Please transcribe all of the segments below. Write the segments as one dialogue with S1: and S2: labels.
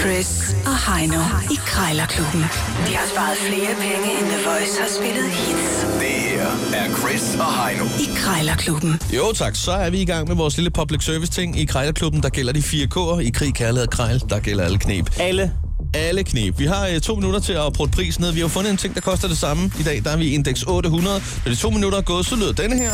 S1: Chris og Heino i Krejlerklubben. De har sparet flere penge, end The Voice har spillet hits
S2: Det her er Chris og Heino.
S1: i Krejlerklubben.
S3: Jo tak, så er vi i gang med vores lille public service ting i Krejlerklubben. Der gælder de 4K'er i krig, kærlighed og krejl. Der gælder alle knep.
S4: Alle.
S3: Alle knep. Vi har øh, to minutter til at prøve pris ned. Vi har jo fundet en ting, der koster det samme. I dag der er vi i indeks 800. Når de to minutter er gået, så lyder denne her.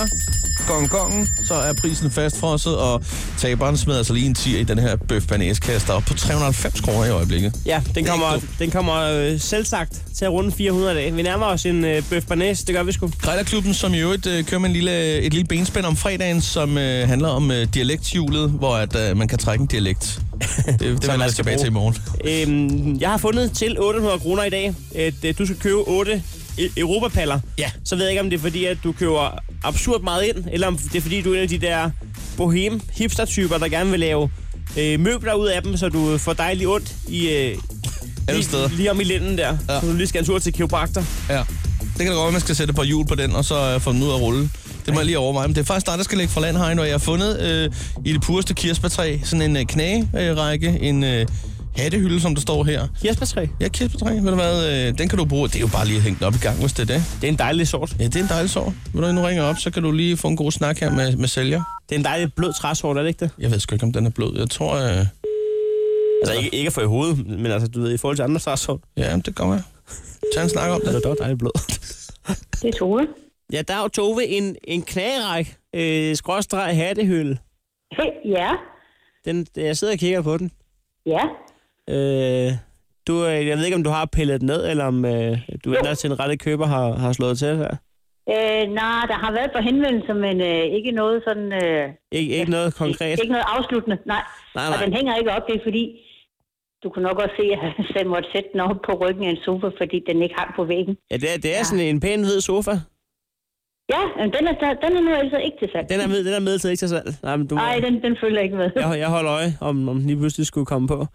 S3: Gong gongen. Så er prisen fastfrosset, og taberen smider altså lige en 10 i den her bøf banæskasse, der er oppe på 390 kroner i øjeblikket.
S4: Ja, den
S3: er
S4: kommer,
S3: ikke
S4: den kommer øh, selv sagt til at runde 400 dage. Vi nærmer os en øh, bøf banæs, det gør vi sgu.
S3: Grejlerklubben, som i øvrigt øh, kører med en lille, et lille benspænd om fredagen, som øh, handler om øh, dialekthjulet, hvor at, øh, man kan trække en dialekt. Det, det vender jeg
S4: man skal
S3: tilbage
S4: bruge.
S3: til i morgen.
S4: Øhm, jeg har fundet til 800 kroner i dag, at øh, du skal købe 8 e- europapaller.
S3: Ja.
S4: Så ved jeg ikke, om det er fordi, at du køber absurd meget ind, eller om det er fordi, du er en af de der bohem hipster-typer, der gerne vil lave øh, møbler ud af dem, så du får dejligt ondt i, øh,
S3: Alle
S4: lige,
S3: steder.
S4: lige om i lænden der.
S3: Ja.
S4: Ja. Så du lige skal en tur til kiropraktor.
S3: Ja. Det kan da godt være, at man skal sætte et par hjul på den, og så øh, få den ud at rulle. Det må jeg lige overveje. Men det er faktisk dig, der skal lægge fra land, Heino. Jeg har fundet øh, i det pureste kirsebærtræ sådan en øh, knagerække, en øh, hattehylde, som der står her.
S4: Kirsebærtræ.
S3: Ja, kirsebærtræ, ved du hvad, øh, den kan du bruge. Det er jo bare lige at hænge den op i gang, hvis det er det.
S4: Det er en dejlig sort.
S3: Ja, det er en dejlig sår. Ved du, hvad, nu ringer jeg op, så kan du lige få en god snak her med, med sælger.
S4: Det er en dejlig blød træsort, er det ikke det?
S3: Jeg ved sgu ikke, om den er blød. Jeg tror, øh,
S4: Altså ikke, ikke for i hovedet, men altså, du ved, i forhold til andre træsort,
S3: ja, det kommer jeg. Tag en snak om
S4: er
S3: det.
S4: det dog dejligt blød.
S5: Det er Tove.
S4: Ja, der er jo Tove en, en knageræk, øh, skråstreg hattehylde.
S5: Hey, ja,
S4: Den, jeg sidder og kigger på den.
S5: ja.
S4: Øh, du, øh, jeg ved ikke, om du har pillet den ned, eller om øh, du ender til en rette køber har, har slået til her.
S5: Øh, nej, der har været på henvendelser, men øh, ikke noget sådan... Øh,
S4: Ikke, ikke noget konkret.
S5: Ikke, ikke noget afsluttende, nej.
S4: Nej,
S5: Og
S4: nej.
S5: den hænger ikke op, det er fordi... Du kunne nok også se, at jeg måtte sætte den op på ryggen af en sofa, fordi den ikke hang på væggen.
S4: Ja, det er, det er sådan en pæn hvid sofa.
S5: Ja, men den er, der- den er nu altså ikke til salg.
S4: Den er, med, den er med til ikke til salg. Nej, men du,
S5: Nej, den, den følger ikke med.
S4: jeg, jeg holder øje, om, om den lige pludselig skulle komme på.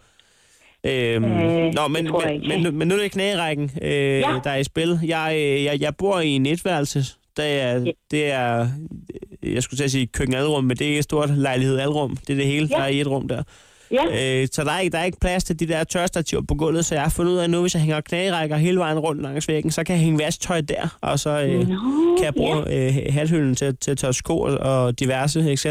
S4: Øhm,
S5: Øh,
S4: nå,
S5: det
S4: men,
S5: tror jeg
S4: men,
S5: ikke.
S4: men, nu- men nu er det knagerækken, øh, ja. der er i spil. Jeg, øh, jeg, jeg bor i en etværelse. Det er,
S5: Ja.
S4: det er, øh, jeg skulle til at sige køkkenalrum, men det er ikke et stort lejlighed alrum. Det er det hele,
S5: Ja.
S4: der er i et rum der.
S5: Ja,
S4: Øh, så der er, ikke, der er ikke plads til de der tørstativer på gulvet, så jeg har fundet ud af nu, hvis jeg hænger knagerækker hele vejen rundt langs væggen, så kan jeg hænge vasktøj der, og så øh,
S5: Nå,
S4: kan jeg bruge øh, hathylden til, til at tørre sko og diverse, etc.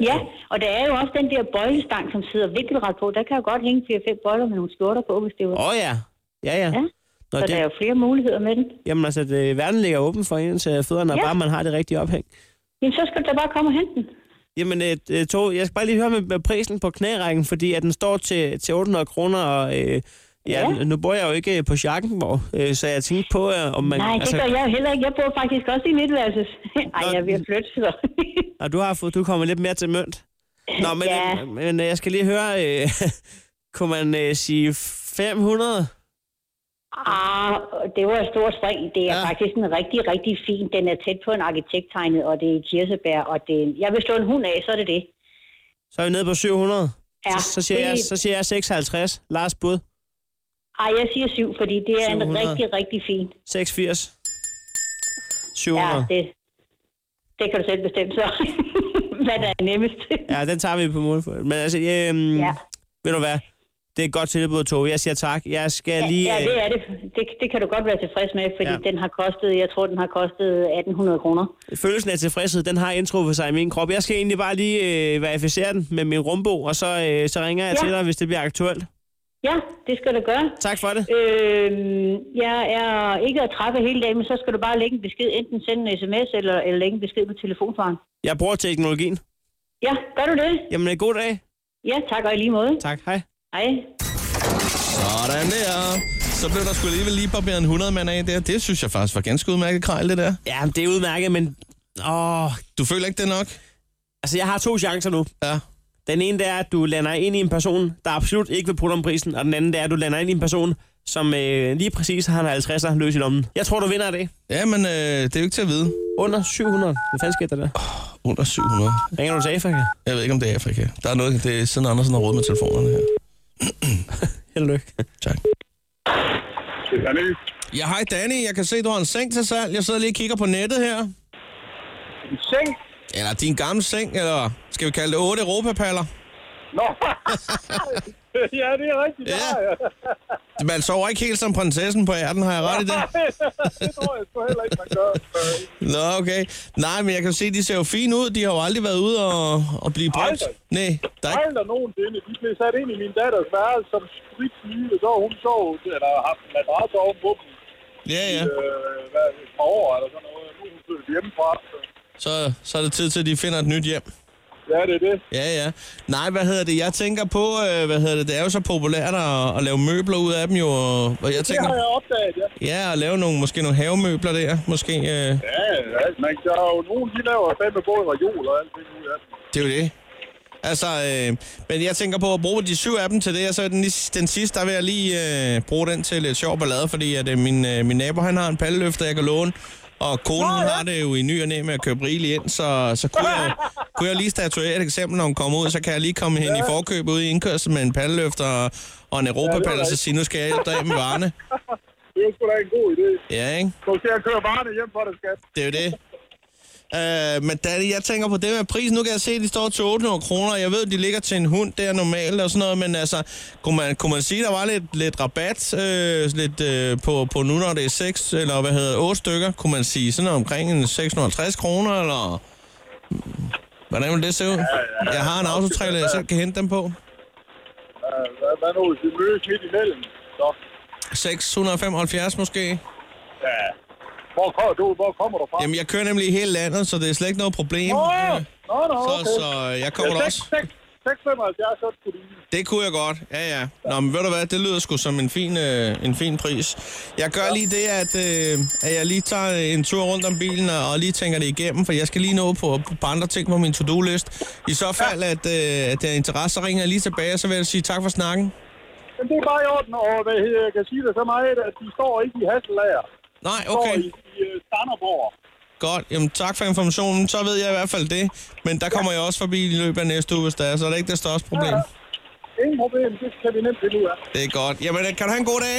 S5: ja. Og der er jo også den der bøjlestang, som sidder vinkelret på. Der kan jo godt hænge 4-5 bøjler med nogle skjorter på, hvis det var.
S4: Åh oh, ja. Ja, ja.
S5: Ja.
S4: Nå,
S5: Så der er
S4: det,
S5: jo flere muligheder med den.
S4: jamen altså, det, verden ligger åben for en til fødderne, ja.
S5: Ja.
S4: bare man har det rigtige ophæng.
S5: Jamen, så skal du da bare komme og hente den.
S4: Jamen, øh, øh, Tove, jeg skal bare lige høre med, med prisen på knærækken, fordi at den står til, til 800 kroner, og øh, ja,
S5: Ja.
S4: nu bor jeg jo ikke på Schackenborg, øh, så jeg tænkte på, øh, om man...
S5: Nej, det gør jeg jo heller ikke. Jeg bor faktisk også i midtværelses. Ej,
S4: Nå,
S5: jeg er ved at flytte, så.
S4: Og du har fået, du kommer lidt mere til mønt. Nå, men,
S5: Ja.
S4: øh, men øh, jeg skal lige høre, øh, kunne man øh, sige 500?
S5: ah, det var et stort spring. Det
S4: Ja.
S5: er ja. faktisk en rigtig, rigtig fin. Den er tæt på en arkitekttegnet, og det er kirsebær. Og det er... Jeg vil slå en hund af, så er det det.
S4: Så er vi nede på 700.
S5: Ja,
S4: så, så, siger
S5: det-
S4: jeg, så siger jeg 56. Lars bud.
S5: Ej, jeg siger syv, fordi det er
S4: 700.
S5: en rigtig, rigtig fin.
S4: 86.
S5: Ja,
S4: 700.
S5: det, det kan du selv bestemme så. Hvad der er nemmest.
S4: Ja, den tager vi på mål for. Men altså, øhm, ja.
S5: Ja.
S4: ved du hvad? Det er et godt tilbud, Tove. Jeg siger tak. Jeg skal
S5: Ja,
S4: lige...
S5: ja,
S4: øh,
S5: det er det. det. Det kan du godt være tilfreds med, fordi
S4: Ja.
S5: ja. den har kostet, jeg tror, den har kostet 1800 kroner.
S4: øh, Følelsen af tilfredshed, den har indtruffet sig i min krop. Jeg skal egentlig bare lige øh, verificere den med min rumbo, og så, øh, så ringer jeg ja.
S5: Ja.
S4: til dig, hvis det bliver aktuelt.
S5: Ja, det skal du gøre.
S4: Tak for det.
S5: Øh, jeg er ikke at træffe hele dagen, men så skal du bare lægge en besked. Enten sende en sms, eller, eller lægge en besked på telefonsvaren.
S4: Jeg bruger teknologien.
S5: Ja, gør du det?
S4: Jamen, øh, god dag.
S5: Ja, tak og i lige måde.
S4: Tak, hej.
S5: Hej.
S3: Sådan der. Så blev der sgu alligevel lige barberet en 100 mand af der. Det synes jeg faktisk var ganske udmærket krejl, det der.
S4: Ja, det er udmærket, men... Åh,
S3: Du føler ikke det er nok?
S4: altså, jeg har to chancer nu.
S3: Ja.
S4: Den ene, det er, at du lander ind i en person, der absolut ikke vil putte om prisen, og den anden, det er, at du lander ind i en person, som øh, lige præcis har en 50'er løs i lommen. Jeg tror, du vinder det.
S3: Ja, men øh, det er jo ikke til at vide.
S4: Under 700. Hvad fanden sker der der?
S3: Under 700.
S4: Ringer du til Afrika?
S3: Jeg ved ikke, om det er Afrika. Der er noget, det er siden Andersen har råd med telefonerne her.
S4: Held og lykke.
S3: Tak.
S6: Danny,
S3: Ja, hej Danny. Jeg kan se, du har en seng til salg. Jeg sidder lige og kigger på nettet her.
S6: seng?
S3: Eller din gamle seng, eller skal vi kalde det 8 europapaller?
S6: Nå! ja, det er rigtigt.
S3: Ja.
S6: Ja. Ja.
S3: Man sover ikke helt som prinsessen på ærten, har jeg ret i det?
S6: det tror jeg sgu heller ikke, man gør. Øh,
S3: Nå, okay. Nej, men jeg kan se, de ser jo fine ud. De har jo aldrig været ude og, og blive brugt.
S6: Aldrig.
S3: Nej, der er ikke...
S6: Aldrig nogensinde. De blev sat ind i min datters værelse som stridt nye, så hun sov, eller har haft en madras oven på dem.
S3: Ja, ja.
S6: Øh, hvad, et par år eller sådan noget. Nu er hun flyttet hjemmefra.
S3: Så,
S6: så-
S3: så er det tid til, at de finder et nyt hjem.
S6: Ja, det er det.
S3: Ja, ja. Nej, hvad hedder det? Jeg tænker på, øh, hvad hedder det? Det er jo så populært at, at lave møbler ud af dem jo. Og, og jeg
S6: Det har
S3: tænker,
S6: jeg opdaget, ja.
S3: ja, at lave nogle, måske nogle havemøbler der. Måske, øh,
S6: Ja, ja, men der er jo nogen, de laver fandme både reol og alt det nu, ja.
S3: det er jo det. Altså, øh, men jeg tænker på at bruge de syv af dem til det, og så den, lis- den sidste, der vil jeg lige øh, bruge den til lidt sjov ballade, fordi at, øh, min, øh, min nabo, han har en palleløfter, jeg kan låne, og konen Nå, ja. har det jo i ny og næ med at købe rigeligt ind, så, så kunne, jeg, kunne jeg lige statuere et eksempel, når hun kommer ud, så kan jeg lige komme hen i forkøb ude i indkørsel med en palleløfter og, og en europapall, og så
S6: rigtigt.
S3: sige, nu skal jeg hjælpe dig af med varerne.
S6: Det er sgu da en god idé.
S3: Ja, ikke?
S6: Så skal jeg køre varerne hjem for dig, skat.
S3: Det er jo det. Øh, men Danny, jeg tænker på det med prisen. Nu kan jeg se, at de står til 800 kroner. Jeg ved, de ligger til en hund, det er normalt og sådan noget. Men altså, kunne man, kunne man sige, at der var lidt, lidt rabat øh, lidt, øh, på, på nu, når det er 6, eller hvad hedder 8 stykker? Kunne man sige sådan noget omkring en 650 kroner, eller... Hvordan vil det se ud? Jeg har en autotrailer, jeg selv kan hente dem på.
S6: Ja, Hvad, hvad nu, hvis vi mødes midt imellem? Så,
S3: 675 måske?
S6: ja. Hvor, kommer du, hvor kommer du fra?
S3: Jamen, jeg kører nemlig i hele landet, så det er slet ikke noget problem.
S6: Åh!
S3: Øh,
S6: Nå, nå,
S3: Så,
S6: okay.
S3: så øh, jeg kommer da også.
S6: 675, så skulle du lige.
S3: Det kunne jeg godt, ja ja. Nå, men ved du hvad, det lyder sgu som en fin, øh, en fin pris. Jeg gør lige det, at, øh, at jeg lige tager en tur rundt om bilen og, og lige tænker det igennem, for jeg skal lige nå på, på andre ting på min to-do-list. I så fald, at, øh, at der er interesse, så ringer jeg lige tilbage, og så vil jeg sige tak for snakken.
S6: Men det er bare i orden, og hvad, hedder- jeg kan sige det så meget, at de står ikke i Hasselager.
S3: Nej,
S6: De står
S3: okay.
S6: i, i øh, Standerborg.
S3: Godt. Jamen, tak for informationen. Så ved jeg i hvert fald det. Men der kommer jeg også forbi i løbet af næste uge, hvis der er, så er det ikke det største problem.
S6: Ingen problem, det kan vi nemt finde ud af.
S3: Det er godt. Jamen, kan du have en god dag?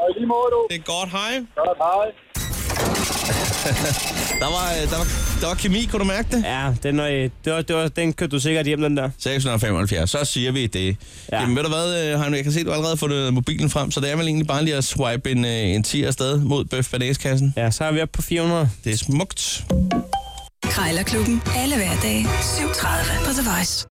S6: Og i lige måde, du.
S3: Det er godt. Hej.
S6: Godt, hej.
S3: Der var, øh, der var, der var kemi, kunne du mærke det?
S4: Ja, den, øh, det var, det var, den kørte du sikkert hjem, den der.
S3: 675, så siger vi det. Ja.
S4: Ja.
S3: Jamen ved du hvad, øh, Heino, jeg kan se, at du allerede har fået øh, mobilen frem, så det er vel egentlig bare lige at swipe en, øh, en 10 afsted mod bøf kassen
S4: Ja, så er vi oppe på 400.
S3: Det er smukt.
S1: Krejlerklubben. Alle hverdage. 7.30 på The Voice.